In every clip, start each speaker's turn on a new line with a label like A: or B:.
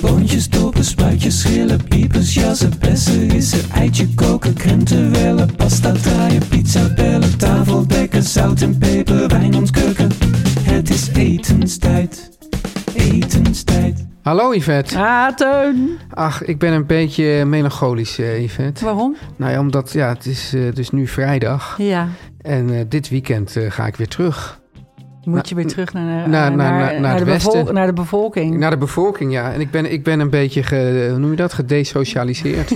A: Boontjes, dopen, spuitjes, schillen, piepers, jassen, bessen, rissen, eitje koken, krenten wellen, pasta draaien, pizza bellen, tafel dekken, zout en peper, wijn ontkurken. Het is etenstijd, etenstijd.
B: Hallo Yvette.
C: Ah, Teun.
B: Ach, ik ben een beetje melancholisch, eh, Yvette.
C: Waarom?
B: Nou ja, omdat ja, het is eh, dus nu vrijdag.
C: Ja.
B: En eh, dit weekend eh, ga ik weer terug.
C: Moet
B: Nou,
C: je weer terug naar, eh, naar,
B: naar- naar- naar het
C: de,
B: westen. Nou,
C: bevol- naar de bevolking.
B: Naar de bevolking, ja. En ik ben, ik ben een beetje, ge, hoe noem je dat, gedesocialiseerd.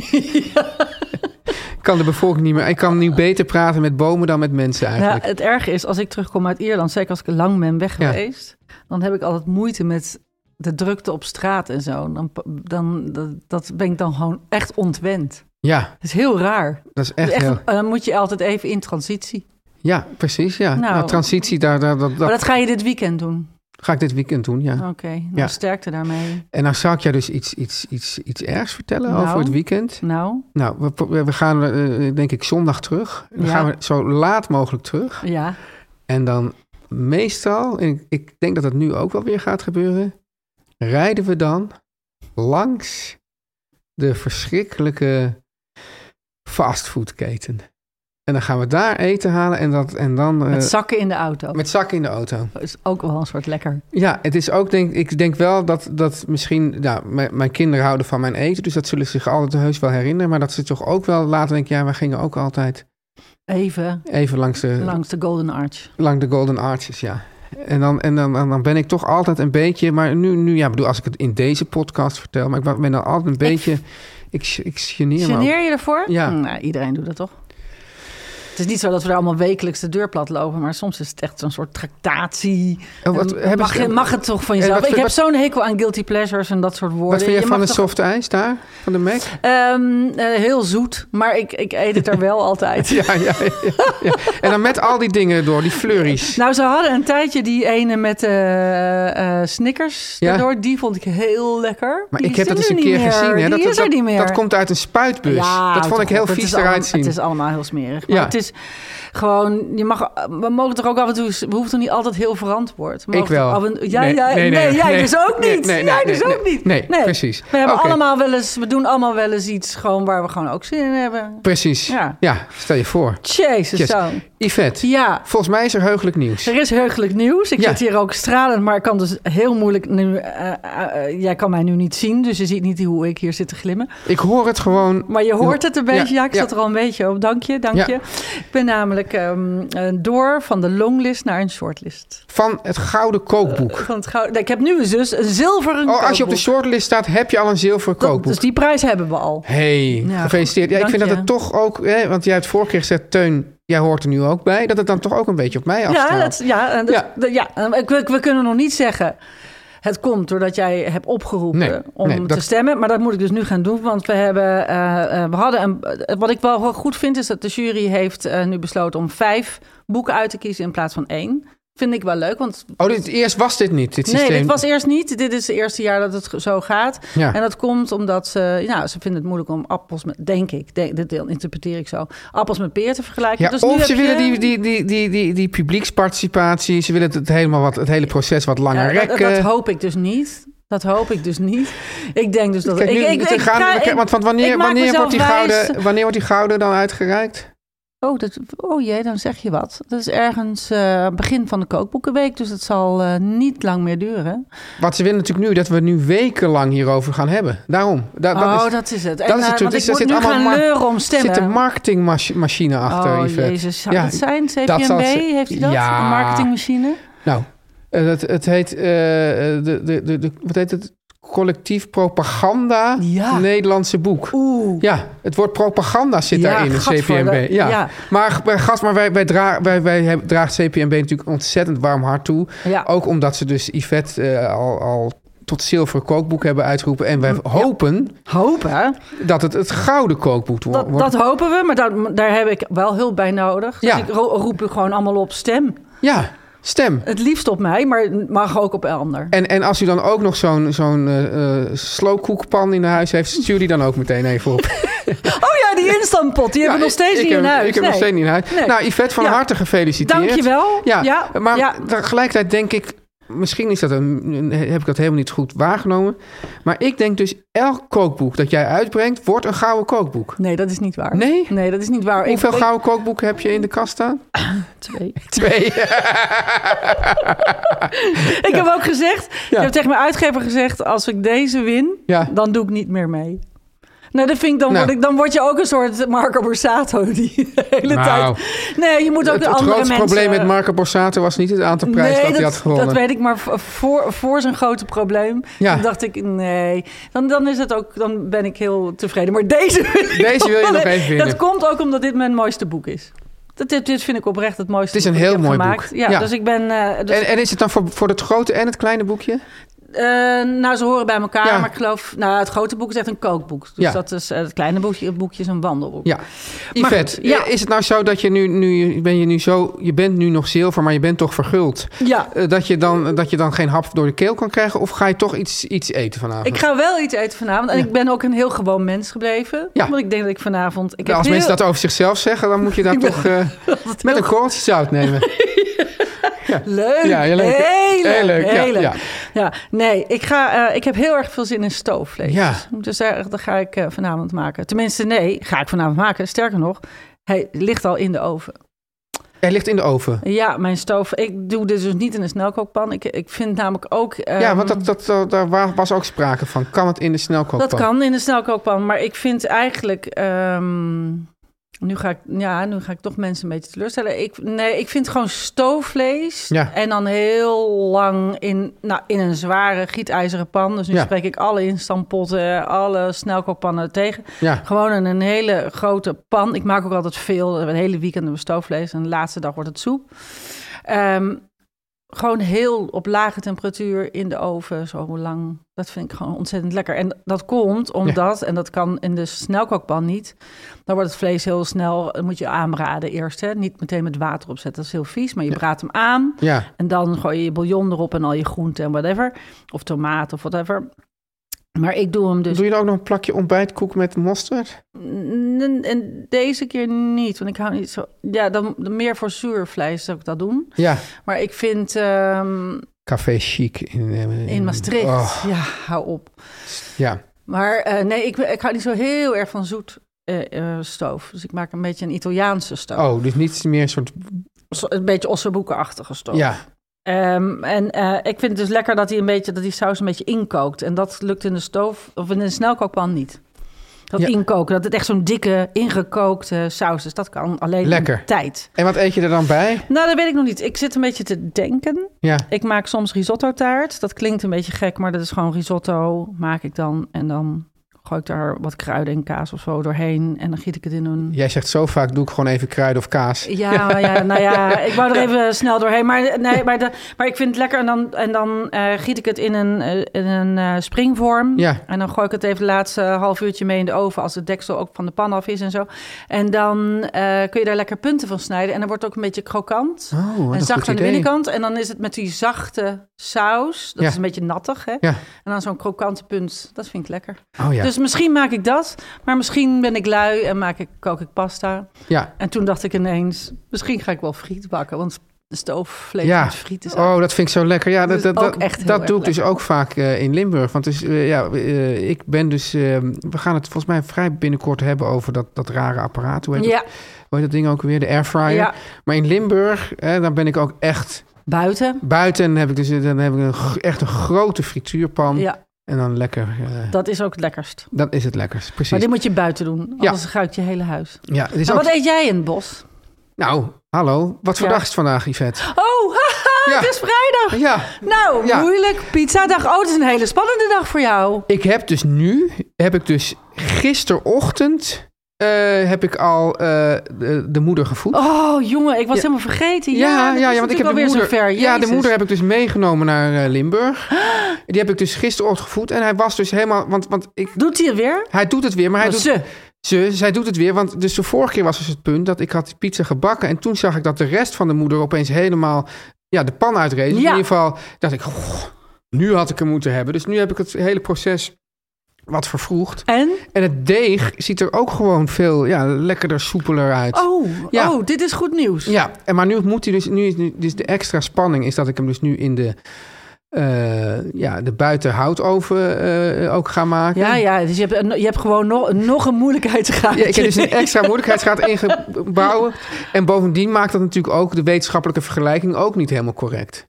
B: Ik kan de bevolking niet meer... Ik kan nu beter praten met bomen dan met mensen
C: ja,
B: eigenlijk.
C: het erge is, als ik terugkom uit Ierland, zeker als ik lang ben weg
B: Ja.
C: geweest, dan heb ik altijd moeite met de drukte op straat en zo. Dan, dan, dat, dat ben ik dan gewoon echt ontwend.
B: Ja,
C: Het is heel raar.
B: dat is echt,
C: Echt, eh,
B: heel...
C: Dan moet je altijd even in transitie.
B: Ja, precies, ja. Nou,
C: Nou.
B: transitie, daar, daar, dat,
C: Maar
B: dat
C: dat ga je dit weekend doen.
B: ga ik dit weekend doen, ja.
C: Oké, nou,
B: Ja.
C: sterkte daarmee.
B: En nou zou ik jou dus iets, iets, iets, iets ergs vertellen
C: Nou.
B: over het weekend.
C: Nou,
B: Nou, we, pro- we gaan eh, denk ik zondag terug. Dan
C: Ja.
B: gaan we zo laat mogelijk terug.
C: ja.
B: En dan meestal, en ik, ik denk dat dat nu ook wel weer gaat gebeuren, rijden we dan langs de verschrikkelijke fastfoodketen. En dan gaan we daar eten halen en, dat, en dan eh,
C: Met zakken in de auto.
B: met zakken in de auto.
C: Dat is ook wel een soort lekker.
B: Ja, het is ook denk ik denk wel dat, dat misschien nou, mijn, mijn kinderen houden van mijn eten, dus dat zullen ze zich altijd heus wel herinneren, maar dat ze toch ook wel later denken, ja, wij gingen ook altijd
C: Even
B: even langs de,
C: langs de Golden Arch.
B: langs de Golden Arches, ja. En dan, en dan, dan dan ben ik toch altijd een beetje, maar nu, nu ja, ik bedoel, als ik het in deze podcast vertel, maar ik wa- ben dan altijd een beetje, ik, ik, geneer me. ook.
C: Geneer je ervoor?
B: Ja.
C: Nou, iedereen doet dat toch? Het is niet zo dat we daar allemaal wekelijks de deur plat lopen, maar soms is het echt zo'n soort tractatie.
B: En Oh, wat
C: En
B: hebben
C: Eh, mag,
B: ze-
C: je, mag het toch van
B: En
C: jezelf?
B: wat
C: ik
B: vind-
C: heb zo'n hekel aan guilty pleasures en dat soort woorden.
B: Wat vind je van
C: mag
B: de
C: toch-
B: soft ijs daar, van de Mac?
C: Ehm, eh, heel zoet, maar ik, ik eet het er wel altijd.
B: Ja, ja, ja, ja. En dan met al die dingen door, die flurries.
C: Nou, ze hadden een tijdje die ene met eh, eh, Snickers
B: Ja.
C: erdoor. Die vond ik heel lekker.
B: Maar
C: Die
B: ik heb
C: is
B: dat eens
C: er
B: een
C: nu
B: keer
C: niet meer.
B: gezien. Hè?
C: Die
B: dat,
C: is er
B: dat-
C: niet meer.
B: dat komt uit een spuitbus.
C: Ja,
B: dat vond
C: houd
B: ik heel
C: op. Het
B: vies
C: is allemaal-
B: eruit zien.
C: Het is allemaal heel smerig. Maar
B: Ja.
C: het is gewoon, je mag, we mogen toch ook af en toe, we hoeven toch niet altijd heel verantwoord. We mogen
B: Ik wel.
C: toch af en- jij,
B: Nee,
C: jij,
B: nee,
C: nee,
B: nee,
C: jij
B: nee,
C: dus ook
B: nee,
C: niet.
B: nee, nee,
C: jij dus
B: nee,
C: ook
B: nee,
C: niet.
B: nee, precies.
C: We, hebben
B: Oké.
C: allemaal wel eens, we doen allemaal wel eens iets gewoon waar we gewoon ook zin in hebben.
B: Precies. Ja.
C: Ja.
B: stel je voor.
C: Jezus
B: Yes.
C: zo.
B: Yvette,
C: Ja.
B: volgens mij is er heugelijk nieuws.
C: Er is heugelijk nieuws. Ik
B: Ja.
C: zit hier ook stralend, maar ik kan dus heel moeilijk nu. eh, eh, eh, jij kan mij nu niet zien, dus je ziet niet hoe ik hier zit te glimmen.
B: Ik hoor het gewoon.
C: Maar je hoort het een
B: Ja,
C: beetje. Ja, ik
B: ja.
C: zat er al een beetje op. Dank je, dank
B: Ja.
C: je. Ik ben namelijk ehm, eh, door van de longlist naar een shortlist.
B: Van het gouden kookboek.
C: Van het gouden- nee, ik heb nu dus een zilveren
B: Oh, als je op de
C: Eh, kookboek.
B: shortlist staat, heb je al een zilveren
C: Dat-
B: kookboek.
C: Dus die prijs hebben we al.
B: Hey,
C: Ja,
B: gefeliciteerd. Ja, ik
C: dank
B: vind dat
C: je.
B: het toch ook, hè, want jij hebt vorige keer gezegd, Teun, jij hoort er nu ook bij, dat het dan toch ook een beetje op mij afstaat.
C: Ja, dat, ja, en dat-
B: Ja.
C: dat- ja. en ik- we, we kunnen nog niet zeggen. Het komt doordat jij hebt opgeroepen
B: Nee,
C: om
B: nee,
C: te
B: dat-
C: stemmen. Maar dat moet ik dus nu gaan doen. Want we hebben. eh, eh, we hadden een, wat ik wel heel goed vind, is dat de jury heeft eh, nu besloten om vijf boeken uit te kiezen in plaats van één. Vind ik wel leuk. Want
B: Oh, dit, eerst was dit niet, dit systeem. Ah.
C: Nee, dit was eerst niet. Dit is het eerste jaar dat het ge- zo gaat.
B: Ja.
C: En dat komt omdat ze, ja, ze vinden het moeilijk om appels met, denk ik, denk, dit deel interpreteer ik zo, appels met peren te vergelijken.
B: Ja,
C: dus nu
B: of
C: heb
B: ze willen die,
C: je-
B: die, die, die, die, die publieksparticipatie, ze willen het, helemaal wat, het hele proces wat langer
C: Ja, dat-
B: rekken.
C: dat, hoop ik dus niet. Dat hoop ik dus niet. Ik denk dus dat
B: Kijk, nu,
C: ik, ik,
B: we gaan-
C: ga-
B: we-
C: ik-
B: want, want
C: ik
B: wanneer,
C: maak
B: wanneer, wordt die
C: mezelf wijs.
B: gouden, wanneer wordt die gouden dan uitgereikt?
C: Oh, dat, oh jee, dan zeg je wat. Dat is ergens eh, begin van de kookboekenweek, dus het zal eh, niet lang meer duren.
B: Wat ze willen natuurlijk nu, dat we nu wekenlang hierover gaan hebben. Daarom. Da- dat
C: oh,
B: is,
C: dat is het.
B: dat is het,
C: eh,
B: dus
C: want ik
B: er
C: moet
B: zit
C: nu
B: allemaal
C: gaan
B: mar-
C: leuren om stemmen.
B: zit een marketingmachine achter,
C: oh
B: Yvette.
C: jezus, zou
B: Ja,
C: dat zijn? CPMB,
B: dat zal ze-
C: heeft hij dat?
B: Ja.
C: Een marketingmachine?
B: Nou, eh, het, het heet, eh, de, de, de, de- wat heet het? Collectief Propaganda
C: Ja.
B: Nederlandse Boek.
C: Oeh.
B: Ja, het woord propaganda zit
C: Ja,
B: daarin, het
C: gadverdamme.
B: CPMB. Ja.
C: Ja.
B: Maar eh, gast, maar wij, wij, dra wij, wij hebben- draagt CPMB natuurlijk ontzettend warm hart toe.
C: Ja.
B: Ook omdat ze dus Yvette eh, al, al tot zilveren kookboek hebben uitgeroepen. En wij hopen
C: Hopen.
B: dat het het gouden kookboek wo-
C: Dat,
B: wordt.
C: dat hopen we, maar daar, daar heb ik wel hulp bij nodig. Dus
B: Ja.
C: ik ro- roep u gewoon allemaal op stem.
B: Ja, stem.
C: Het liefst op mij, maar het mag ook op een ander.
B: En, en als u dan ook nog zo'n zo'n eh, eh, slowcookpan in huis heeft, stuur die dan ook meteen even op.
C: Oh ja, die instantpot, die hebben we nog
B: Ja,
C: steeds
B: ik
C: niet
B: heb-
C: in huis.
B: Ik heb nog
C: Nee.
B: steeds niet in huis.
C: Nee.
B: Nou, Yvette, van
C: Ja.
B: harte gefeliciteerd.
C: Dankjewel.
B: Ja,
C: Ja,
B: maar
C: ja.
B: tegelijkertijd denk ik... Misschien is dat een, een- heb ik dat helemaal niet goed waargenomen. Maar ik denk dus, elk kookboek dat jij uitbrengt... wordt een gouden kookboek.
C: Nee, dat is niet waar.
B: Nee?
C: Nee, dat is niet waar. Ik-
B: Hoeveel
C: ik-
B: gouden kookboeken heb je in de kast staan?
C: Twee.
B: Twee.
C: Ik heb ook gezegd, ik heb tegen mijn uitgever gezegd... als ik deze win,
B: Ja.
C: dan doe ik niet meer mee. Nou, dat vind ik, dan,
B: Nou.
C: word ik, dan word je ook een soort Marco Borsato die de hele
B: Nou.
C: tijd... Nee, je moet ook
B: het
C: de
B: het
C: andere
B: grootste
C: mensen... eh,
B: probleem met Marco Borsato was niet het aantal prijzen dat, hij had gewonnen.
C: dat weet ik, maar v- voor, voor zijn grote probleem
B: Ja.
C: toen dacht ik, nee, dan, dan, is het ook, dan ben ik heel tevreden. Maar deze wil, ik
B: Deze wil je
C: wel-
B: nog even winnen.
C: Dat komt ook omdat dit mijn mooiste boek is. Dat, dit, dit vind ik oprecht het
B: Het
C: mooiste
B: is een
C: boek dat
B: heel
C: ik heb
B: mooi
C: gemaakt.
B: boek.
C: Ja,
B: Ja.
C: Dus ik ben... eh, dus,
B: en, en is het dan voor, voor het grote en het kleine boekje?
C: eh, nou, ze horen bij elkaar,
B: Ja.
C: maar ik geloof... Nou, het grote boek is echt een kookboek. Dus
B: Ja.
C: dat is, eh, het kleine boekje, het boekje is een wandelboek.
B: Ja. Yvette,
C: goed, ja.
B: eh, is het nou zo dat je nu, nu, ben je nu zo... Je bent nu nog zilver, maar je bent toch verguld.
C: Ja.
B: Eh, dat, je dan, dat je dan geen hap door de keel kan krijgen? Of ga je toch iets, iets eten vanavond?
C: Ik ga wel iets eten vanavond. En ik ben ook een heel gewoon mens gebleven.
B: Ja.
C: Want ik denk dat ik vanavond... Ik
B: Nou,
C: heb
B: als
C: heel-
B: mensen dat over zichzelf zeggen, dan moet je daar toch eh, met een korreltje zout nemen.
C: Leuk.
B: Ja, heel leuk.
C: Heel leuk.
B: Heel leuk, ja,
C: heel leuk.
B: ja.
C: Ja, nee, ik, ga, eh, ik heb heel erg veel zin in stoofvlees.
B: Ja.
C: Dus daar, dat ga ik eh, vanavond maken. Tenminste, nee, ga ik vanavond maken. Sterker nog, hij ligt al in de oven.
B: Hij ligt in de oven.
C: Ja, mijn stoof. Ik doe dit dus niet in een snelkookpan. Ik, ik vind namelijk ook...
B: ja,
C: ehm,
B: want dat, dat, dat- daar wa- was ook sprake van. Kan het in de snelkookpan?
C: Dat kan in de snelkookpan. Maar ik vind eigenlijk... ehm, nu ga, ik, ja, nu ga ik toch mensen een beetje teleurstellen. Ik, nee, ik vind gewoon stoofvlees.
B: Ja.
C: En dan heel lang in, nou, in een zware gietijzeren pan. Dus nu
B: Ja.
C: spreek ik alle instantpotten, alle snelkookpannen tegen.
B: Ja.
C: Gewoon in een hele grote pan. Ik maak ook altijd veel. Een hele weekend hebben we stoofvlees. En de laatste dag wordt het soep. Ehm, gewoon heel op lage temperatuur in de oven, zo lang. Dat vind ik gewoon ontzettend lekker. En dat komt omdat, en dat kan in de snelkookpan niet, dan wordt het vlees heel snel, dat moet je aanbraden eerst. Hè? Niet meteen met water opzetten, dat is heel vies, maar je braadt hem aan.
B: Ja.
C: En dan gooi je je bouillon erop en al je groenten en whatever. Of tomaat of whatever. Maar ik doe hem dus
B: Doe je dan ook nog een plakje ontbijtkoek met mosterd?
C: N- en deze keer niet, want ik hou niet zo... Ja, dan meer voor zuur vlees zou ik dat doen.
B: Ja.
C: Maar ik vind ehm,
B: Café chic in, eh,
C: in Maastricht...
B: Oh,
C: Ja, hou op.
B: ja.
C: Maar eh, nee, ik, ik hou niet zo heel erg van zoet eh, eh, stoof. Dus ik maak een beetje een Italiaanse stoof.
B: Oh, dus niet meer een soort...
C: Zo- Een beetje ossenboekenachtige stoof.
B: Ja.
C: Ehm, en eh, ik vind het dus lekker dat, hij een beetje, dat die saus een beetje inkookt. En dat lukt in de stoof of in de snelkookpan niet. Dat
B: Ja.
C: inkoken, dat het echt zo'n dikke, ingekookte saus is. Dat kan alleen
B: Lekker.
C: in tijd.
B: En wat eet je er dan bij?
C: Nou, dat weet ik nog niet. Ik zit een beetje te denken.
B: Ja.
C: Ik maak soms risotto taart. Dat klinkt een beetje gek, maar dat is gewoon risotto. Maak ik dan en dan gooi ik daar wat kruiden en kaas of zo doorheen. En dan giet ik het in een...
B: Jij zegt zo vaak, doe ik gewoon even kruiden of kaas.
C: Ja, ja, nou ja, ik wou er even snel doorheen. Maar, nee, maar, de, maar ik vind het lekker. En dan, en dan eh, giet ik het in een, eh, in een eh, springvorm.
B: Ja.
C: En dan gooi ik het even de laatste half uurtje mee in de oven... als het deksel ook van de pan af is en zo. En dan eh, kun je daar lekker punten van snijden. En dan wordt het ook een beetje krokant.
B: Oh, wat
C: en
B: een
C: zacht
B: goed
C: aan de
B: idee.
C: binnenkant. En dan is het met die zachte saus. Dat
B: Ja.
C: is een beetje nattig, hè?
B: Ja.
C: En dan zo'n krokante punt. Dat vind ik lekker.
B: Oh ja.
C: Dus misschien maak ik dat. Maar misschien ben ik lui en maak ik, kook ik pasta.
B: ja.
C: En toen dacht ik ineens, misschien ga ik wel friet bakken. Want stoofvlees
B: Ja.
C: met frieten. zou-
B: Oh, dat vind ik zo lekker. Ja, dat,
C: Dat is
B: dat, dat,
C: ook echt heel
B: dat
C: erg
B: doe ik dus
C: lekker.
B: ook vaak eh, in Limburg. Want dus, eh, ja, eh, ik ben dus. eh, we gaan het volgens mij vrij binnenkort hebben over dat, dat rare apparaat. Hoe heet, dat,
C: ja,
B: hoe heet dat ding ook weer? De airfryer.
C: ja,
B: Maar in Limburg, eh, dan ben ik ook echt
C: buiten.
B: buiten. En heb ik dus eh, dan heb ik een, gr- echt een grote frituurpan.
C: Ja,
B: En dan lekker. eh,
C: dat is ook het lekkerst.
B: dat is het lekkerst.
C: Maar
B: Precies.
C: dit moet je buiten doen,
B: Ja.
C: anders ruikt je hele huis.
B: Ja, het is
C: Maar
B: ook-
C: wat eet jij in het bos?
B: Nou, hallo. Wat voor
C: Ja.
B: dag is het vandaag, Yvette?
C: Oh, haha,
B: Ja.
C: het is vrijdag.
B: Ah, Ja,
C: Nou,
B: Ja.
C: moeilijk. Pizzadag. Oh, het is een hele spannende dag voor jou.
B: ik heb dus nu, heb ik dus gisterochtend, eh, heb ik al eh, de, de moeder gevoed.
C: Oh, jongen, ik was
B: Ja.
C: helemaal vergeten. Ja, dat
B: want
C: is
B: ik heb de
C: natuurlijk
B: moeder,
C: alweer zover.
B: ja, de
C: Jezus.
B: moeder heb ik dus meegenomen naar eh, Limburg. Die heb ik dus gisterochtend gevoed en hij was dus helemaal, want, want ik,
C: Doet hij het weer?
B: hij doet het weer, maar hij
C: Oh,
B: doet,
C: ze.
B: Ze, zij doet het weer, want dus de vorige keer was dus het punt dat ik had die pizza gebakken en toen zag ik dat de rest van de moeder opeens helemaal ja, de pan uitreed. Dus
C: Ja.
B: in ieder geval dacht ik, "Goh, nu had ik hem moeten hebben. Dus nu heb ik het hele proces wat vervroegd.
C: En?
B: En het deeg ziet er ook gewoon veel ja, lekkerder, soepeler uit.
C: Oh,
B: Ja.
C: oh, dit is goed nieuws.
B: Ja, en maar nu moet hij dus, nu is nu, dus de extra spanning is dat ik hem dus nu in de, eh, ja, de buitenhoutoven eh ook ga maken.
C: Ja, ja, dus je hebt,
B: eh,
C: een- je hebt gewoon nog, nog een moeilijkheidsgraad.
B: Ja, ik heb dus een extra moeilijkheidsgraad ingebouwd. En bovendien maakt dat natuurlijk ook de wetenschappelijke vergelijking ook niet helemaal correct.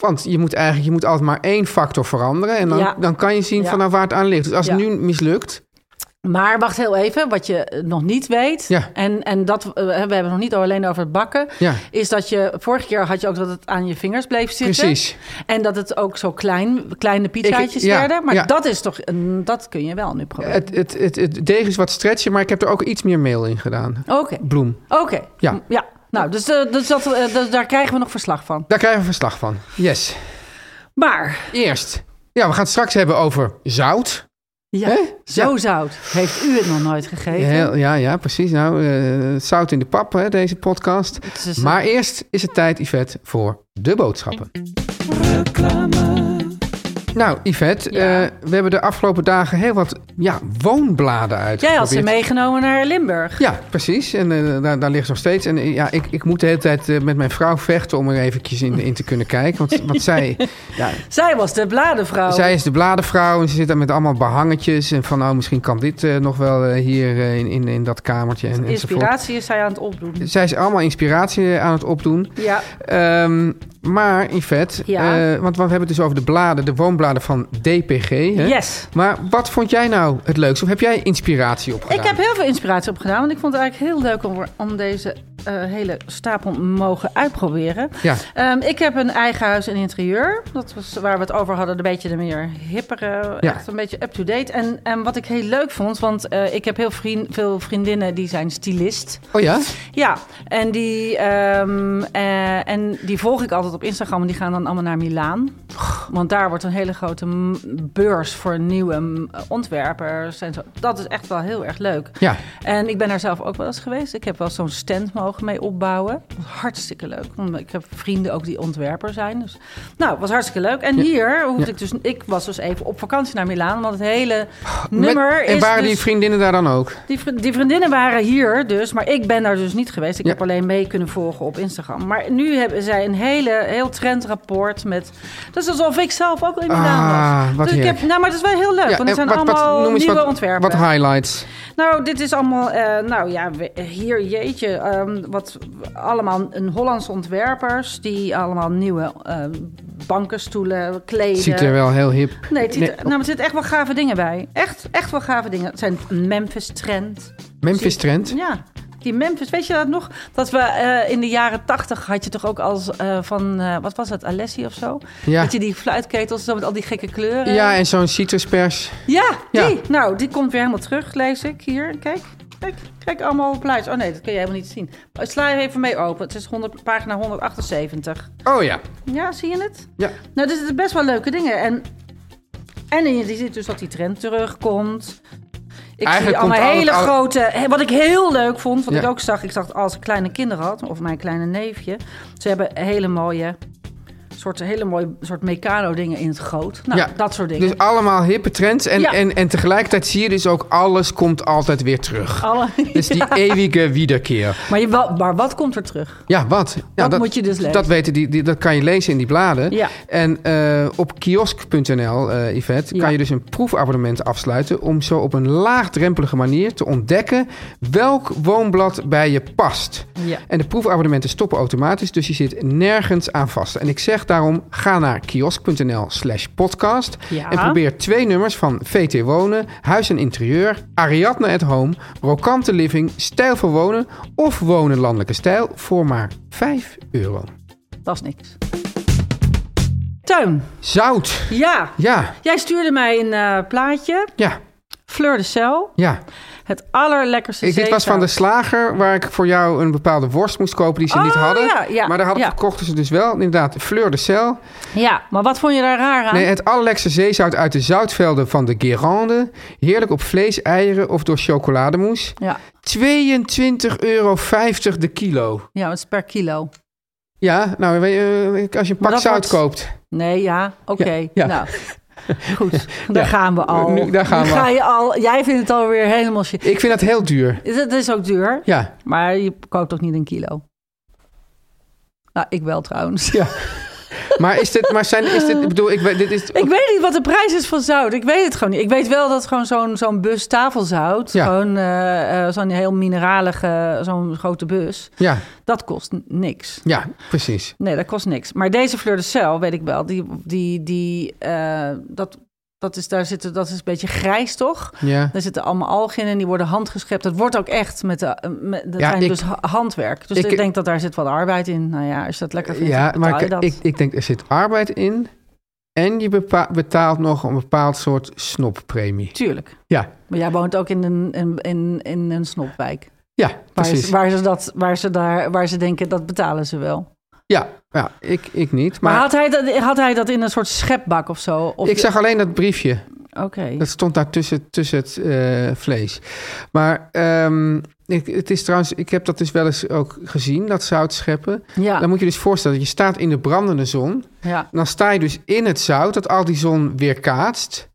B: Want je moet eigenlijk je moet altijd maar één factor veranderen. En dan,
C: Ja.
B: dan kan je zien
C: Ja.
B: van nou waar het aan ligt. Dus als het
C: Ja.
B: nu mislukt.
C: Maar wacht heel even, wat je eh, nog niet weet.
B: Ja.
C: En, en dat, eh, we hebben het nog niet alleen over het bakken.
B: Ja.
C: Is dat je, vorige keer had je ook dat het aan je vingers bleef zitten.
B: Precies.
C: En dat het ook zo klein, kleine pizzaatjes
B: Ik- ja,
C: werden. Maar
B: ja.
C: dat is toch, een- dat kun je wel nu proberen.
B: Het, het, het, het deeg is wat stretchen, maar ik heb er ook iets meer meel in gedaan.
C: Oké,
B: Bloem.
C: oké.
B: Ja.
C: ja. Nou, dus, eh, dus, dat, eh, dus daar krijgen we nog verslag van.
B: Daar krijgen we verslag van. Yes.
C: Maar,
B: Eerst. Ja, we gaan het straks hebben over zout.
C: ja,
B: Hè?
C: zo
B: Ja.
C: zout. Heeft u het nog nooit gegeten?
B: Heel- ja, ja, precies. Nou, eh, zout in de pap, hè, deze podcast.
C: Het is-
B: Maar eerst is het tijd, Yvette, voor de boodschappen. Nou, Yvette,
C: Ja.
B: eh, we hebben de afgelopen dagen heel wat ja, woonbladen uit.
C: Jij had ze meegenomen naar Limburg.
B: Ja, precies. En eh, daar, daar ligt ze nog steeds. En eh, ja, ik, ik moet de hele tijd eh, met mijn vrouw vechten om er eventjes in, in te kunnen kijken. Want, want zij, ja,
C: Zij was de bladenvrouw.
B: zij is de bladenvrouw en ze zit daar met allemaal behangetjes. En van, nou, misschien kan dit eh, nog wel eh, hier eh, in, in, in dat kamertje en, enzovoort.
C: Inspiratie is zij aan het opdoen.
B: Zij is allemaal inspiratie eh, aan het opdoen.
C: Ja,
B: Ehm, maar Yvette,
C: Ja.
B: eh, want we hebben het dus over de bladen, de woonbladen van DPG. Hè?
C: yes.
B: Maar wat vond jij nou het leukst? Of heb jij inspiratie opgedaan?
C: Ik heb heel veel inspiratie opgedaan, want ik vond het eigenlijk heel leuk om, om deze eh, hele stapel mogen uitproberen.
B: Ja,
C: Ehm, ik heb een eigen huis en interieur. Dat was waar we het over hadden, een beetje de meer hippere,
B: Ja.
C: echt een beetje up-to-date. En, en wat ik heel leuk vond, want eh, ik heb heel vriend, veel vriendinnen die zijn stylist.
B: oh ja?
C: Ja, en die, ehm, eh, en die volg ik altijd op Instagram. En die gaan dan allemaal naar Milaan. Want daar wordt een hele grote m- beurs voor nieuwe m, ontwerpers en zo. Dat is echt wel heel erg leuk.
B: Ja.
C: En ik ben daar zelf ook wel eens geweest. Ik heb wel zo'n stand mogen mee opbouwen. Dat was hartstikke leuk. Want ik heb vrienden ook die ontwerper zijn. Dus, nou, was hartstikke leuk. En hier hoefde ik dus... Ik was dus even op vakantie naar Milaan. Want het hele nummer
B: Met- en
C: is
B: waren
C: dus...
B: die vriendinnen daar dan ook?
C: Die, vri- die vriendinnen waren hier dus, maar ik ben daar dus niet geweest. Ik
B: Ja.
C: heb alleen mee kunnen volgen op Instagram. Maar nu hebben zij een hele, heel trendrapport met... Dat is alsof ik zelf ook in Milaan
B: Ah,
C: was.
B: wat
C: dus ik heb,
B: heerlijk.
C: nou, maar dat is wel heel leuk,
B: Ja,
C: want het
B: en
C: zijn allemaal
B: noem eens
C: nieuwe
B: wat,
C: ontwerpen.
B: Wat highlights?
C: Nou, dit is allemaal, eh, nou ja, we- hier jeetje, ehm, wat allemaal een Hollandse ontwerpers die allemaal nieuwe eh, banken, stoelen, kleden.
B: Ziet er wel heel hip.
C: Nee, het ziet er-
B: Nee.
C: nou, maar er zitten echt wel gave dingen bij. Echt, echt wel gave dingen. Het zijn Memphis Trend.
B: Memphis Trend.
C: Ja, die Memphis. Weet je dat nog? Dat we eh, in de jaren tachtig had je toch ook als eh, van, eh, wat was dat, Alessi of zo?
B: Ja.
C: Dat je die fluitketels zo met al die gekke kleuren.
B: Ja, en zo'n citruspers.
C: ja die.
B: Ja.
C: Nou, die komt weer helemaal terug, lees ik hier. Kijk, kijk, kijk allemaal plaatjes. Oh nee, dat kun je helemaal niet zien. Sla er even mee open. Het is 100, pagina 178.
B: Oh ja.
C: Ja, zie je het?
B: Ja.
C: Nou, er zitten best wel leuke dingen. En, en je ziet dus dat die trend terugkomt. Ik
B: Eigenlijk
C: zie allemaal
B: komt al
C: hele
B: het al-
C: grote... he- Wat ik heel leuk vond, wat
B: Ja.
C: ik ook zag... Ik zag het als ik kleine kinderen had, of mijn kleine neefje. Ze hebben hele mooie soort hele mooie soort mecano dingen in het groot. Nou,
B: Ja.
C: dat soort dingen.
B: Dus allemaal hippe trends. En,
C: Ja.
B: en, en tegelijkertijd zie je dus ook, alles komt altijd weer terug.
C: Alle,
B: Dus die eeuwige wiederkeer.
C: maar, je, wel- maar wat komt er terug?
B: Ja, wat? Ja,
C: moet je dus lezen.
B: Dat, weten die, die- dat kan je lezen in die bladen.
C: Ja.
B: En eh, op kiosk.nl, eh Yvette,
C: Ja.
B: kan je dus een proefabonnement afsluiten... om zo op een laagdrempelige manier te ontdekken welk woonblad bij je past.
C: Ja.
B: En de proefabonnementen stoppen automatisch, dus je zit nergens aan vast. En ik zeg daarom, ga naar kiosk.nl slash podcast...
C: Ja.
B: en probeer twee nummers van VT Wonen, Huis en Interieur... Ariadne at Home, Rokante Living, Stijl voor Wonen... of Wonen Landelijke Stijl voor maar 5 euro.
C: Dat is niks. Tuin.
B: Zout,
C: Ja.
B: ja,
C: Jij stuurde mij een eh, plaatje.
B: ja,
C: Fleur de Cel.
B: ja.
C: Het allerlekkerste
B: Ik, dit was van de
C: zeezout.
B: slager waar ik voor jou een bepaalde worst moest kopen die ze
C: Oh,
B: niet hadden.
C: ja, ja,
B: maar daar hadden,
C: ja.
B: verkochten ze dus wel, inderdaad, fleur de sel.
C: Ja, maar wat vond je daar raar aan?
B: Nee, het allerlekste zeezout uit de zoutvelden van de Guérande. Heerlijk op vlees, eieren of door chocolademousse.
C: Ja.
B: 22,50 euro de kilo.
C: ja, het is per kilo.
B: Ja, nou, weet je, eh, als je een
C: Maar
B: pak
C: dat
B: zout
C: wordt-
B: koopt.
C: Nee, ja, oké.
B: Ja, ja.
C: Nou, goed. Daar
B: Ja.
C: gaan we al.
B: Nu- daar gaan we
C: Ga
B: al.
C: je al. Jij vindt het alweer helemaal shit.
B: Ik vind dat heel duur.
C: Dat is ook duur,
B: Ja,
C: maar je koopt ook niet een kilo. Nou, ik wel trouwens.
B: ja. maar is dit, maar zijn, is dit, ik bedoel, ik, weet- dit is...
C: Ik weet niet wat de prijs is van zout. Ik weet het gewoon niet. Ik weet wel dat gewoon zo'n zo'n bus tafelzout,
B: Ja.
C: gewoon eh, eh, zo'n heel mineralige, zo'n grote bus,
B: Ja,
C: dat kost n- niks.
B: ja, precies.
C: Nee, dat kost niks. Maar deze Fleur de Cel, weet ik wel, die, die, die, eh, dat, dat, is, daar zitten, dat is een beetje grijs, toch?
B: Ja.
C: Daar zitten allemaal algen in en die worden handgeschept. Dat wordt ook echt met de. Met, dat
B: Ja,
C: zijn
B: ik-
C: dus ha- handwerk. Dus ik,
B: ik-
C: denk dat daar zit wat arbeid in. Nou ja, als je dat lekker vindt,
B: Ja,
C: dan betaal
B: maar
C: je
B: ik,
C: dat.
B: ik, ik denk er zit arbeid in. En je bepa- betaalt nog een bepaald soort snoppremie.
C: Tuurlijk.
B: Ja,
C: Maar jij woont ook in een, in, in, in een snopwijk.
B: ja
C: Waar, ze-
B: precies.
C: waar, ze dat, waar, ze daar, waar ze denken, dat betalen ze wel.
B: Ja, ja ik, ik niet.
C: Maar,
B: Maar,
C: had, hij dat, had hij dat in een soort schepbak of zo? Of
B: ik zag alleen dat briefje.
C: Oké.
B: Dat stond daar tussen, tussen het eh, vlees. Maar ehm, ik, het is trouwens, ik heb dat dus wel eens ook gezien, dat zout scheppen.
C: Ja,
B: Dan moet je dus voorstellen, je staat in de brandende zon.
C: ja.
B: Dan sta je dus in het zout, dat al die zon weerkaatst.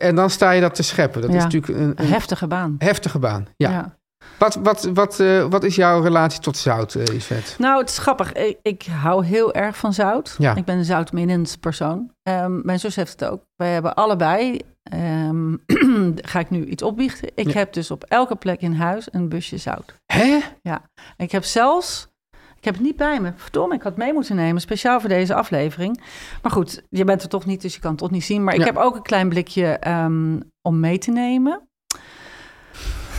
B: En dan sta je dat te scheppen. Dat
C: Ja.
B: is natuurlijk een,
C: Een
B: een
C: heftige baan.
B: heftige baan. ja. Wat, wat, wat, eh, wat is jouw relatie tot zout, eh, Yvette?
C: Nou, het is grappig. Ik, ik hou heel erg van zout.
B: Ja.
C: Ik ben een zoutminnend persoon. Ehm, mijn zus heeft het ook. Wij hebben allebei... ehm, ga ik nu iets opbiechten? Ik
B: Ja.
C: heb dus op elke plek in huis een busje zout.
B: Hè?
C: Ja. Ik heb zelfs... Ik heb het niet bij me. Verdomme, ik had het mee moeten nemen. Speciaal voor deze aflevering. Maar goed, je bent er toch niet, dus je kan het toch niet zien. Maar ik
B: Ja.
C: heb ook een klein blikje ehm, om mee te nemen.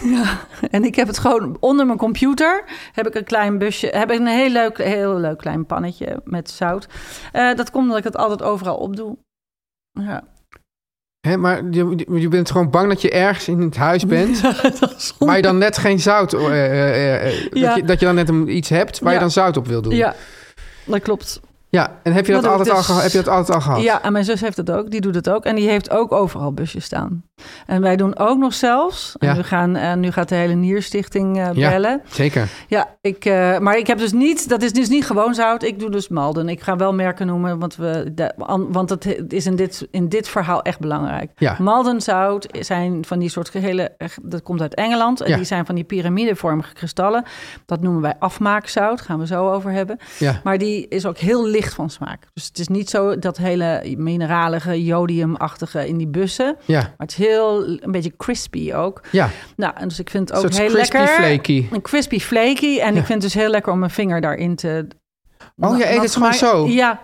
C: Ja, en ik heb het gewoon onder mijn computer. Heb ik een klein busje. Heb ik een heel leuk, heel leuk klein pannetje met zout. Eh, dat komt omdat ik het altijd overal opdoe. Ja.
B: Hè, maar je, je- je bent gewoon bang dat je ergens in het huis bent, waar je dan net geen zout... eh, eh, eh, eh,
C: Ja.
B: dat, je, dat je dan net een- iets hebt waar
C: Ja.
B: je dan zout op wil doen.
C: ja, dat klopt.
B: Ja, En heb je dat,
C: Dat heb ik
B: altijd al
C: dus-
B: geha- heb je dat altijd al gehad?
C: Ja, en mijn zus heeft dat ook. Die doet het ook. En die heeft ook overal busjes staan. En wij doen ook nog zelfs.
B: Ja.
C: En nu, gaan, eh, nu gaat de hele Nierstichting eh,
B: Ja.
C: bellen.
B: Zeker.
C: Ja, ik, eh, maar ik heb dus niet, dat is dus niet gewoon zout. Ik doe dus Malden. Ik ga wel merken noemen, want, we, de- an- want dat is in dit, in dit verhaal echt belangrijk.
B: Ja.
C: Maldenzout zijn van die soort gehele, dat komt uit Engeland. En
B: Ja.
C: die zijn van die piramidevormige kristallen. Dat noemen wij afmaakzout, gaan we zo over hebben.
B: Ja.
C: Maar die is ook heel licht van smaak. Dus het is niet zo dat hele mineralige, jodiumachtige in die bussen.
B: Ja.
C: Maar het is heel, een beetje crispy ook.
B: Ja.
C: Nou, en dus ik vind het ook
B: Een soort
C: heel
B: crispy
C: lekker.
B: flaky.
C: Een crispy flaky. En ik vind het dus heel lekker om mijn vinger daarin te...
B: Oh, je eet
C: nat
B: het
C: te
B: gewoon
C: maken.
B: zo?
C: Ja,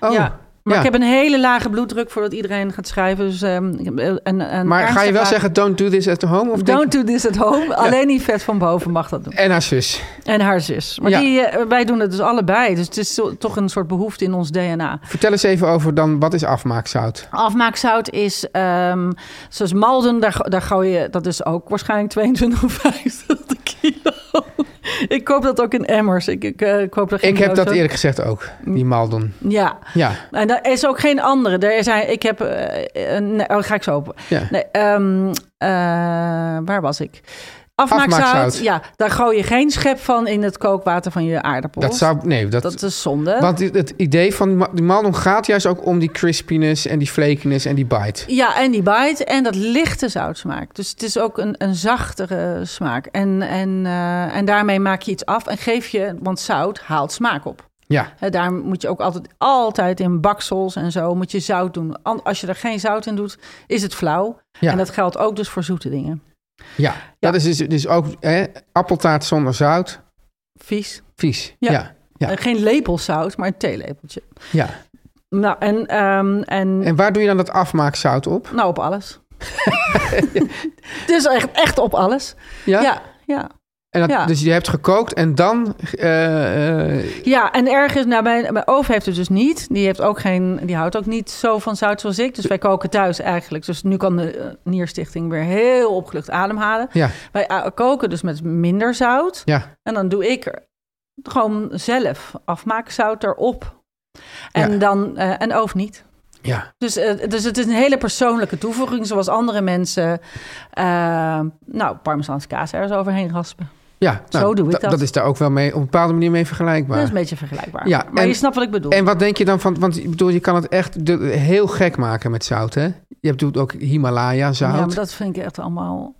B: Oh.
C: ja. Maar
B: Ja.
C: ik heb een hele lage bloeddruk voordat iedereen gaat schrijven. Dus, ehm, ik heb een, een, een
B: Maar ga je
C: ernstig
B: wel
C: laag-
B: zeggen, don't do this at home? Of denk-
C: Don't do this at home. Alleen die vet van boven mag dat doen.
B: En haar zus.
C: En haar zus. Maar
B: Ja.
C: die, eh, wij doen het dus allebei. Dus het is zo- toch een soort behoefte in ons DNA.
B: Vertel eens even over dan, wat is afmaakzout?
C: Afmaakzout is, ehm, zoals Malden, daar, go- daar gooi je, dat is ook waarschijnlijk 22,50 de kilo. ik koop dat ook in emmers. Ik, ik, eh, koop er geen
B: Ik heb dat
C: dozen.
B: eerlijk gezegd ook,
C: Mm.
B: die Maldon.
C: Ja.
B: Ja.
C: En er is ook geen andere. Er zijn, ik heb, eh, een- nee, oh, ga ik zo op.
B: Ja.
C: Nee, ehm, eh, waar was ik? Afmaakzout,
B: Afmaakzout.
C: ja, daar gooi je geen schep van in het kookwater van je aardappels.
B: Dat zou... Nee, dat...
C: Dat is zonde.
B: want het- het idee van die ma- die maldon gaat juist ook om die crispiness en die flakiness en die bite.
C: Ja, en die bite en dat lichte zoutsmaak. Dus het is ook een, een zachtere smaak. En, en, eh, en daarmee maak je iets af en geef je... Want zout haalt smaak op.
B: Ja,
C: Hè, daar moet je ook altijd, altijd in baksels en zo moet je zout doen. An- Als je er geen zout in doet, is het flauw.
B: Ja.
C: En dat geldt ook dus voor zoete dingen.
B: ja. dat is dus, dus ook hè, appeltaart zonder zout.
C: Vies.
B: Vies.
C: Ja.
B: Ja. Ja.
C: Eh, Geen lepel zout, maar een theelepeltje.
B: ja.
C: Nou, en, ehm, en,
B: En waar doe je dan dat afmaakzout op?
C: nou op alles. dus echt, echt op alles.
B: Ja.
C: Ja, ja.
B: En dat,
C: ja.
B: Dus je hebt gekookt en dan... eh, eh,
C: Ja, en ergens, nou, mijn, mijn oven heeft het dus niet. Die, heeft ook geen, die houdt ook niet zo van zout zoals ik. Dus wij koken thuis eigenlijk. Dus nu kan de eh, Nierstichting weer heel opgelucht ademhalen.
B: ja,
C: Wij eh, koken dus met minder zout.
B: ja.
C: En dan doe ik er gewoon zelf afmaakzout erop. En,
B: Ja.
C: dan, eh, en of niet.
B: Ja.
C: Dus, eh, dus het is een hele persoonlijke toevoeging. Zoals andere mensen, eh, nou, parmezaanse kaas ergens overheen raspen.
B: Ja, nou,
C: Zo doe ik
B: da-
C: dat.
B: is daar ook wel mee, op een bepaalde manier mee vergelijkbaar.
C: Dat is een beetje vergelijkbaar.
B: Ja,
C: maar
B: en-
C: je snapt wat ik bedoel.
B: En wat denk je dan van, want ik bedoel, je kan het echt de- heel gek maken met zout, hè? Je hebt doet ook Himalaya zout.
C: Ja,
B: Ja,
C: maar dat vind ik echt allemaal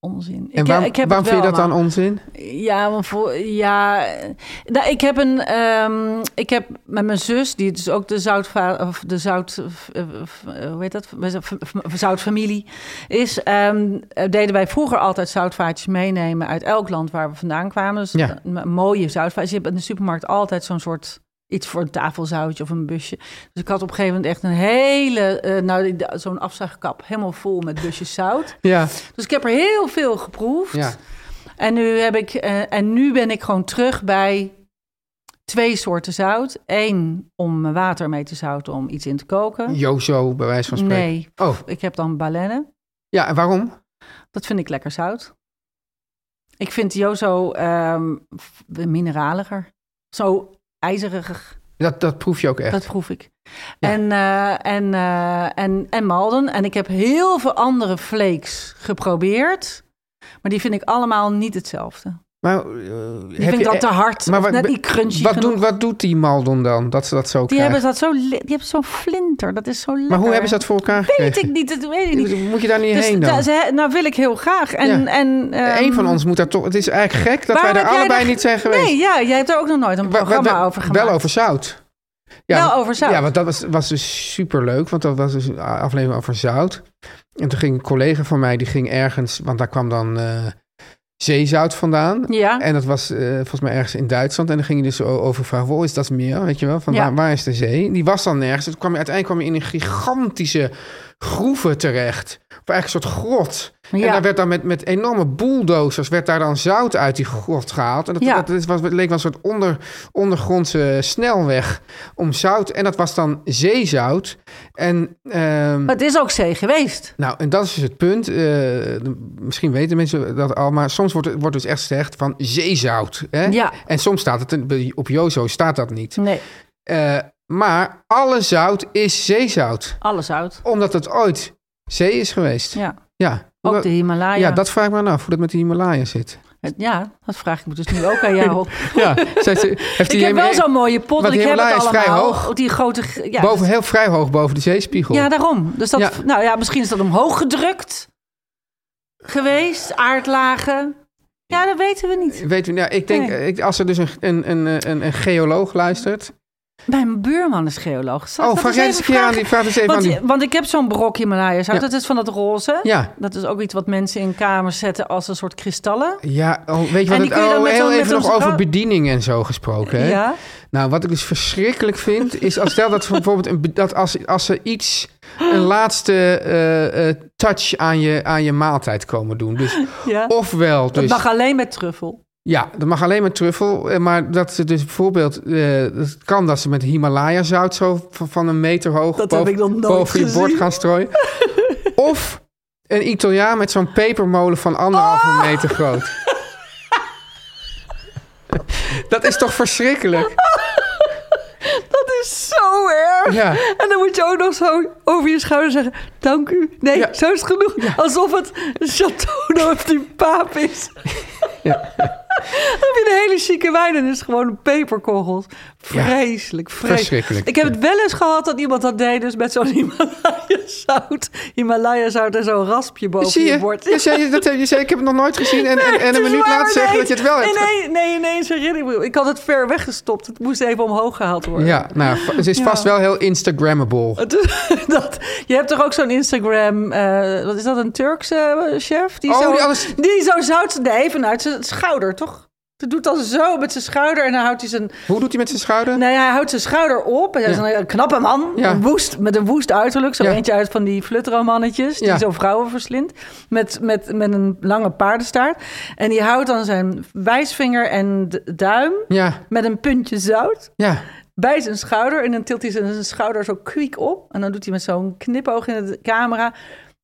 C: onzin.
B: en
C: ik,
B: waarom,
C: ik heb
B: waarom
C: het
B: vind je dat
C: wel
B: dan
C: allemaal.
B: onzin?
C: Ja, want voor, ja eh, nou, ik heb een. ehm, ik heb met mijn zus, die dus ook de zoutva of de zout. eh, eh, hoe heet dat? V- v- Zoutfamilie is. ehm, eh, deden wij vroeger altijd zoutvaatjes meenemen uit elk land waar we vandaan kwamen. Dus
B: Ja.
C: eh, m- mooie zoutvaatjes. Je hebt in de supermarkt altijd zo'n soort. Iets voor een tafelzoutje of een busje. Dus ik had op een gegeven moment echt een hele. eh, nou, die- zo'n afzuigkap. Helemaal vol met busjes zout.
B: Ja,
C: Dus ik heb er heel veel geproefd.
B: ja,
C: En nu, heb ik, eh, en nu ben ik gewoon terug bij twee soorten zout. Eén om mijn water mee te zouten om iets in te koken.
B: Jozo, bij wijze van spreken.
C: Nee,
B: Oh,
C: ik heb dan baleine.
B: ja, en waarom?
C: Dat vind ik lekker zout. Ik vind Jozo ehm, f- mineraliger. Zo ijzerig.
B: Dat, dat proef je ook echt.
C: Dat proef ik. En, eh, en, eh, en, en Malden. En ik heb heel veel andere flakes geprobeerd. Maar die vind ik allemaal niet hetzelfde.
B: maar, eh,
C: Die vind ik dan te hard. Maar net niet crunchy
B: e- wat,
C: genoeg.
B: doen, wat doet die Maldon dan, dat ze dat zo
C: Die
B: krijgen?
C: hebben, dat zo, li- die hebben zo'n flinter. Dat is zo lekker.
B: maar hoe hebben ze dat voor elkaar
C: Weet
B: gekregen?
C: ik niet, dat weet ik niet.
B: Moet je daar niet
C: Dus
B: heen
C: da-
B: dan?
C: ze- nou wil ik heel graag. En,
B: Ja.
C: en, ehm,
B: Eén van ons moet daar toch... Het is eigenlijk gek dat wij
C: waarom
B: daar
C: heb jij
B: allebei
C: daar-
B: niet zijn geweest.
C: Nee, ja, jij hebt er ook nog nooit een
B: Wa- wa-
C: programma
B: wa-
C: over gemaakt.
B: Wel over zout.
C: Wel
B: want-
C: over zout.
B: Ja, want dat was, was dus superleuk. Want dat was dus een aflevering over zout. En toen ging een collega van mij, die ging ergens... Want daar kwam dan eh, zeezout vandaan.
C: Ja.
B: En dat was eh, volgens mij ergens in Duitsland. En dan ging je dus o- over vragen, waar is dat meer? Weet je wel, van
C: Ja.
B: waar, waar is de zee? Die was dan nergens. Toen kwam je, uiteindelijk kwam je in een gigantische groeven terecht. Of eigenlijk een soort grot. En
C: Ja.
B: daar werd dan met, met enorme bulldozers werd daar dan zout uit die grot gehaald. En dat,
C: Ja.
B: dat, is- was, het leek wel een soort onder, ondergrondse snelweg om zout. En dat was dan zeezout. En, ehm,
C: Maar het is ook zee geweest.
B: nou, en dat is dus het punt. Eh, de- misschien weten mensen dat al, maar soms wordt, wordt dus echt gezegd van zeezout. Hè?
C: Ja.
B: En soms staat het, in- op Jozo staat dat niet.
C: Nee,
B: Eh, maar alle zout is zeezout.
C: alles uit.
B: Omdat het ooit zee is geweest.
C: Ja.
B: Ja.
C: Ook de Himalaya.
B: Ja, dat vraag ik me dan af, hoe dat met de Himalaya zit.
C: Het- ja, dat vraag ik me dus nu ook aan jou.
B: Ja, zegt ze- heeft
C: ik
B: die
C: heb wel
B: Himalaya-
C: zo'n mooie pot.
B: Want
C: Want ik
B: die
C: heb het
B: Himalaya
C: allemaal.
B: is vrij hoog.
C: Die grote... g- Ja,
B: boven, heel vrij hoog boven de zeespiegel.
C: Ja, daarom. Dus dat,
B: Ja.
C: Nou ja, misschien is dat omhoog gedrukt geweest, aardlagen. Ja, dat weten we niet.
B: Weet u, nou, ik denk,
C: Nee.
B: ik, als er dus een, een, een, een, een geoloog luistert.
C: Mijn buurman is geoloog. Zal ik
B: oh,
C: dat
B: vraag
C: eens
B: eens een keer
C: even
B: aan
C: vragen?
B: die. Vraag eens even
C: Want,
B: aan die.
C: want ik heb zo'n brok Himalaya zout.
B: Ja.
C: Dat is van dat roze.
B: Ja.
C: Dat is ook iets wat mensen in kamers zetten als een soort kristallen.
B: Ja, oh, weet je wat
C: die
B: het,
C: kun je dan
B: oh,
C: met
B: heel
C: zo'n- met
B: even nog
C: zo'n
B: over
C: stra-
B: bediening en zo gesproken. Hè?
C: Ja.
B: Nou, wat ik dus verschrikkelijk vind, is als stel dat bijvoorbeeld een, be- dat als, als ze iets, een laatste eh, eh, touch aan je, aan je maaltijd komen doen. Dus
C: ja.
B: ofwel.
C: Dat
B: Dus,
C: mag alleen met truffel.
B: Ja, dat mag alleen maar truffel. eh, Maar dat ze dus bijvoorbeeld... eh, het kan dat ze met Himalaya-zout zo van, van een meter hoog...
C: Dat heb ik nog nooit
B: boven je bord
C: gezien.
B: gaan strooien. of een Italiaan met zo'n pepermolen van anderhalve
C: Ah!
B: meter groot. dat is toch verschrikkelijk?
C: Dat is zo erg. erg.
B: Ja.
C: En dan moet je ook nog zo over je schouder zeggen: Dank u. Nee,
B: Ja.
C: zo is het genoeg. Alsof het een Chateau of die paap is.
B: Ja.
C: Dan heb je een hele chique wijn en is het gewoon peperkogels. Vreselijk, vreselijk.
B: verschrikkelijk.
C: Ik heb het wel eens gehad dat iemand dat deed, dus met zo'n Himalaya-zout. Himalaya-zout en zo'n raspje boven
B: Zie je?
C: bord.
B: Je zei, dat, je zei, ik heb het nog nooit gezien. En, en, en
C: Het
B: een
C: is
B: minuut
C: waar,
B: later zeggen
C: nee.
B: dat je het wel hebt.
C: Nee, nee, nee, ineens herinner ik me. Ik had het ver weggestopt. Het moest even omhoog gehaald worden.
B: Ja, nou, va- het is vast wel heel Instagrammable.
C: Het is- dat, je hebt toch ook zo'n Instagram... eh, wat is dat, een Turkse eh, chef? Die
B: Oh,
C: zo,
B: die alles-
C: die zo zout... Nee, vanuit zijn schouder, toch? Dat doet dan zo met zijn schouder en dan houdt hij zijn...
B: Hoe doet hij met zijn schouder?
C: Nee, Nou hij houdt zijn schouder op. Hij is
B: Ja.
C: een knappe man.
B: Ja.
C: Een woest, met een woest uiterlijk. Zo
B: Ja.
C: eentje uit van die flutteromannetjes. Die
B: Ja.
C: zo vrouwen verslindt. Met, met, met een lange paardenstaart. En die houdt dan zijn wijsvinger en d- duim.
B: Ja,
C: Met een puntje zout
B: ja.
C: bij zijn schouder. En dan tilt hij zijn schouder zo kwiek op. En dan doet hij met zo'n knipoog in de camera...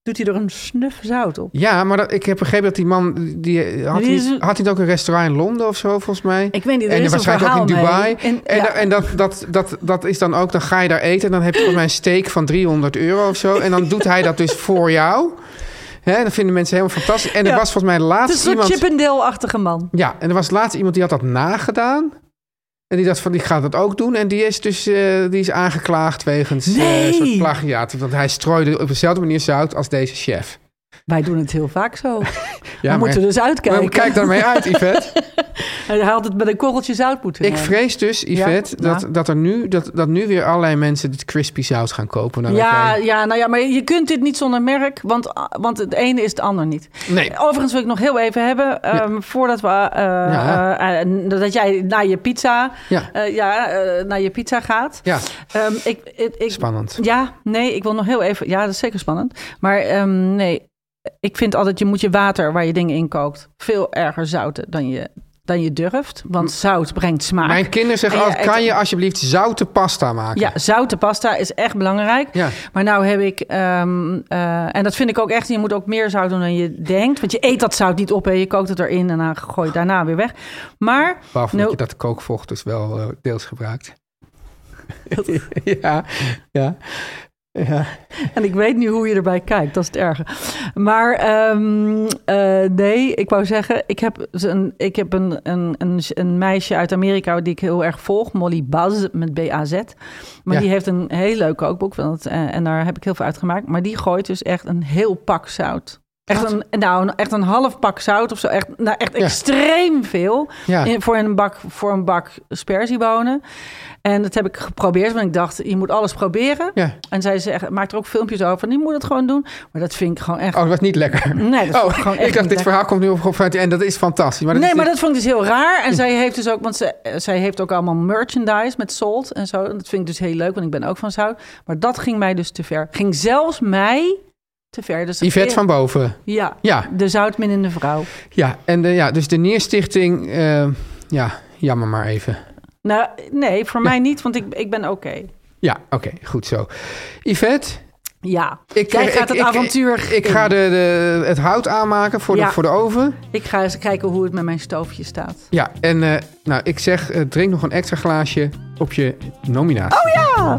C: doet hij er een snuf zout op.
B: Ja, maar dat, ik heb begrepen dat die man... Die, eh, had,
C: Die is-
B: hij, had hij het ook een restaurant in Londen of zo, volgens mij?
C: Ik weet niet, er
B: en
C: is een
B: waarschijnlijk ook in
C: verhaal
B: Dubai.
C: mee. En-
B: En,
C: ja.
B: da- en dat, dat, dat, dat is dan ook... Dan ga je daar eten en dan heb je volgens mij een steak van 300 euro of zo. En dan doet hij dat dus voor jou. Hè, dat vinden mensen helemaal fantastisch. En
C: Ja.
B: er was volgens mij
C: Het
B: laatst
C: is een soort
B: iemand...
C: Chip and Dale-achtige man.
B: Ja, en er was laatst iemand die had dat nagedaan. En die dacht van, die gaat dat ook doen. En die is dus eh, die is aangeklaagd wegens eh,
C: Nee.
B: een soort plagiaat. Want hij strooide op dezelfde manier zout als deze chef.
C: Wij doen het heel vaak zo.
B: Ja,
C: We moeten dus uitkijken.
B: maar kijk daarmee uit, Yvette.
C: Hij had het met een korreltje zout moeten
B: Ik
C: nemen.
B: vrees dus, Yvette,
C: Ja,
B: dat,
C: ja.
B: dat, er nu, dat, dat nu weer allerlei mensen dit crispy zout gaan kopen. Dan
C: Ja,
B: ook jij.
C: ja, nou ja, maar je kunt dit niet zonder merk, want, want het ene is het ander niet.
B: Nee.
C: Overigens wil ik nog heel even hebben, ehm, voordat we, eh,
B: Ja.
C: eh, eh, dat jij naar je pizza,
B: Ja.
C: eh, ja, eh, naar je pizza gaat.
B: Ja,
C: Ehm, ik, ik, ik-
B: Spannend.
C: Ja, nee, ik wil nog heel even. Ja, dat is zeker spannend. Maar ehm, nee, ik vind altijd je moet je water waar je dingen in kookt veel erger zouten dan je, dan je durft. Want zout brengt smaak.
B: mijn kinderen zeggen
C: En ja,
B: altijd,
C: het-
B: kan je alsjeblieft zouten pasta maken?
C: Ja, zoute pasta is echt belangrijk.
B: Ja.
C: Maar nou heb ik, ehm, eh, en dat vind ik ook echt, je moet ook meer zout doen dan je denkt. Want je eet dat zout niet op en je kookt het erin en dan gooi je het daarna weer weg. Maar,
B: Behalve
C: nou,
B: dat je dat kookvocht dus wel eh, deels gebruikt. ja, ja, ja.
C: En ik weet nu hoe je erbij kijkt, dat is het erge. Maar ehm, eh, nee, ik wou zeggen, ik heb, z- een, ik heb een, een, een, een meisje uit Amerika die ik heel erg volg, Molly Baz met B-A-Z. Maar
B: Ja.
C: die heeft een heel leuk kookboek van het, eh, en daar heb ik heel veel uit gemaakt. Maar die gooit dus echt een heel pak zout. Echt een, nou, een- echt een half pak zout of zo. Echt, nou, echt
B: Ja.
C: extreem veel.
B: Ja.
C: In, voor, een bak, voor een bak sperziebonen. En dat heb ik geprobeerd, want ik dacht, je moet alles proberen.
B: Ja.
C: En zij zegt, maakt er ook filmpjes over. En die moet het gewoon doen. Maar dat vind ik gewoon echt...
B: Oh, dat was niet lekker.
C: Nee, Mm, dat vond ik
B: oh,
C: gewoon echt
B: ik dacht,
C: niet
B: dit
C: lekker.
B: verhaal komt nu op op- en dat is fantastisch. Maar dat
C: nee,
B: is
C: maar
B: dit-
C: dat vond ik dus heel raar. En zij heeft dus ook, want ze, eh, zij heeft ook allemaal merchandise met salt en zo. En dat vind ik dus heel leuk, want ik ben ook van zout. Maar dat ging mij dus te ver. Ging zelfs mij te ver. Dus
B: Yvette van boven.
C: Ja,
B: Ja.
C: de zoutminnende vrouw.
B: Ja, en de, ja, dus de Neerstichting, eh, ja, jammer maar even.
C: Nou, nee, voor mij niet, want ik, ik ben oké.
B: Ja, oké, goed zo. Yvette,
C: Ja,
B: ik,
C: jij
B: eh,
C: gaat het
B: ik- ik-
C: avontuur
B: Ik, ik ga
C: in.
B: de, de, het hout aanmaken voor,
C: Ja.
B: de, voor de oven.
C: ik ga eens kijken hoe het met mijn stoofje staat.
B: Ja, en eh, nou, ik zeg, eh, drink nog een extra glaasje op je nominatie.
C: Oh ja!